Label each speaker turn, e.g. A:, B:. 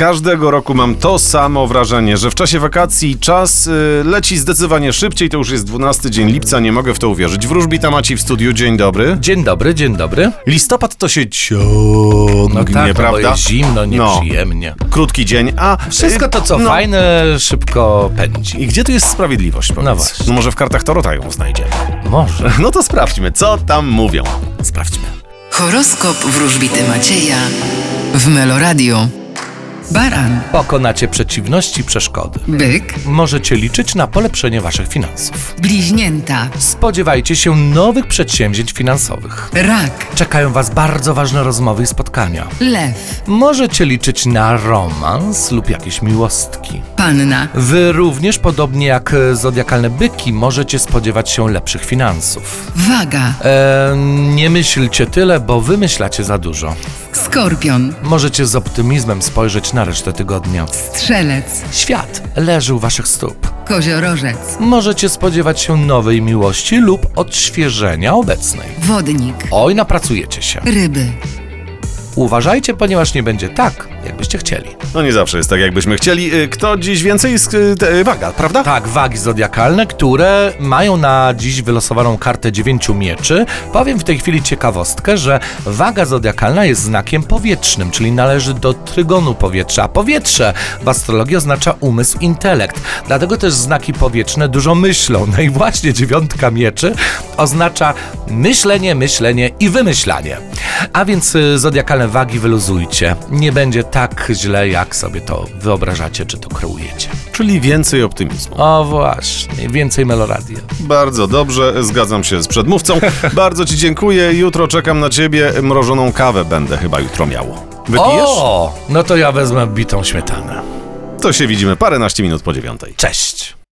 A: Każdego roku mam to samo wrażenie, że w czasie wakacji czas y, leci zdecydowanie szybciej. To już jest 12 dzień lipca, nie mogę w to uwierzyć. Wróżbita Maciej w studiu, dzień dobry.
B: Dzień dobry, dzień dobry.
A: Listopad to się ciągnie,
B: No tak, no bo
A: prawda? No,
B: jest zimno, nieprzyjemnie.
A: Krótki dzień, a...
B: Wszystko to, co
A: no.
B: fajne, szybko pędzi.
A: I gdzie tu jest sprawiedliwość, powiedz?
B: No właśnie.
A: No może w kartach Tarota ją znajdziemy.
B: Może.
A: No to sprawdźmy, co tam mówią. Sprawdźmy.
C: Horoskop wróżbity Macieja w Meloradio. Baran,
B: Pokonacie przeciwności i przeszkody.
C: byk,
B: Możecie liczyć na polepszenie waszych finansów.
C: bliźnięta,
B: Spodziewajcie się nowych przedsięwzięć finansowych.
C: rak,
B: Czekają was bardzo ważne rozmowy i spotkania.
C: lew,
B: Możecie liczyć na romans lub jakieś miłostki.
C: panna,
B: Wy również, podobnie jak e, zodiakalne byki, możecie spodziewać się lepszych finansów.
C: waga,
B: E, nie myślcie tyle, bo wymyślacie za dużo.
C: skorpion,
B: Możecie z optymizmem spojrzeć na resztę tygodnia.
C: strzelec,
B: Świat leży u waszych stóp.
C: koziorożec,
B: Możecie spodziewać się nowej miłości lub odświeżenia obecnej.
C: wodnik,
B: Oj, napracujecie się.
C: ryby.
B: Uważajcie, ponieważ nie będzie tak, jakbyście chcieli.
A: No nie zawsze jest tak, jakbyśmy chcieli. Y, Kto dziś więcej? Sk- y, te- Waga, prawda?
B: Tak, wagi zodiakalne, które mają na dziś wylosowaną kartę dziewięciu mieczy. Powiem w tej chwili ciekawostkę, że waga zodiakalna jest znakiem powietrznym, czyli należy do trygonu powietrza. A Powietrze w astrologii oznacza umysł, intelekt. Dlatego też znaki powietrzne dużo myślą. No i właśnie dziewiątka mieczy oznacza myślenie, myślenie i wymyślanie. A więc y, zodiakalne wagi wyluzujcie. Nie będzie tak źle, jak sobie to wyobrażacie czy to kreujecie.
A: Czyli więcej optymizmu.
B: O właśnie, więcej meloradia.
A: Bardzo dobrze, zgadzam się z przedmówcą. Bardzo Ci dziękuję. Jutro czekam na Ciebie. Mrożoną kawę będę chyba jutro miał. Wypijesz?
B: O, no to ja wezmę bitą śmietanę.
A: To się widzimy paręnaście minut po dziewiątej.
B: Cześć.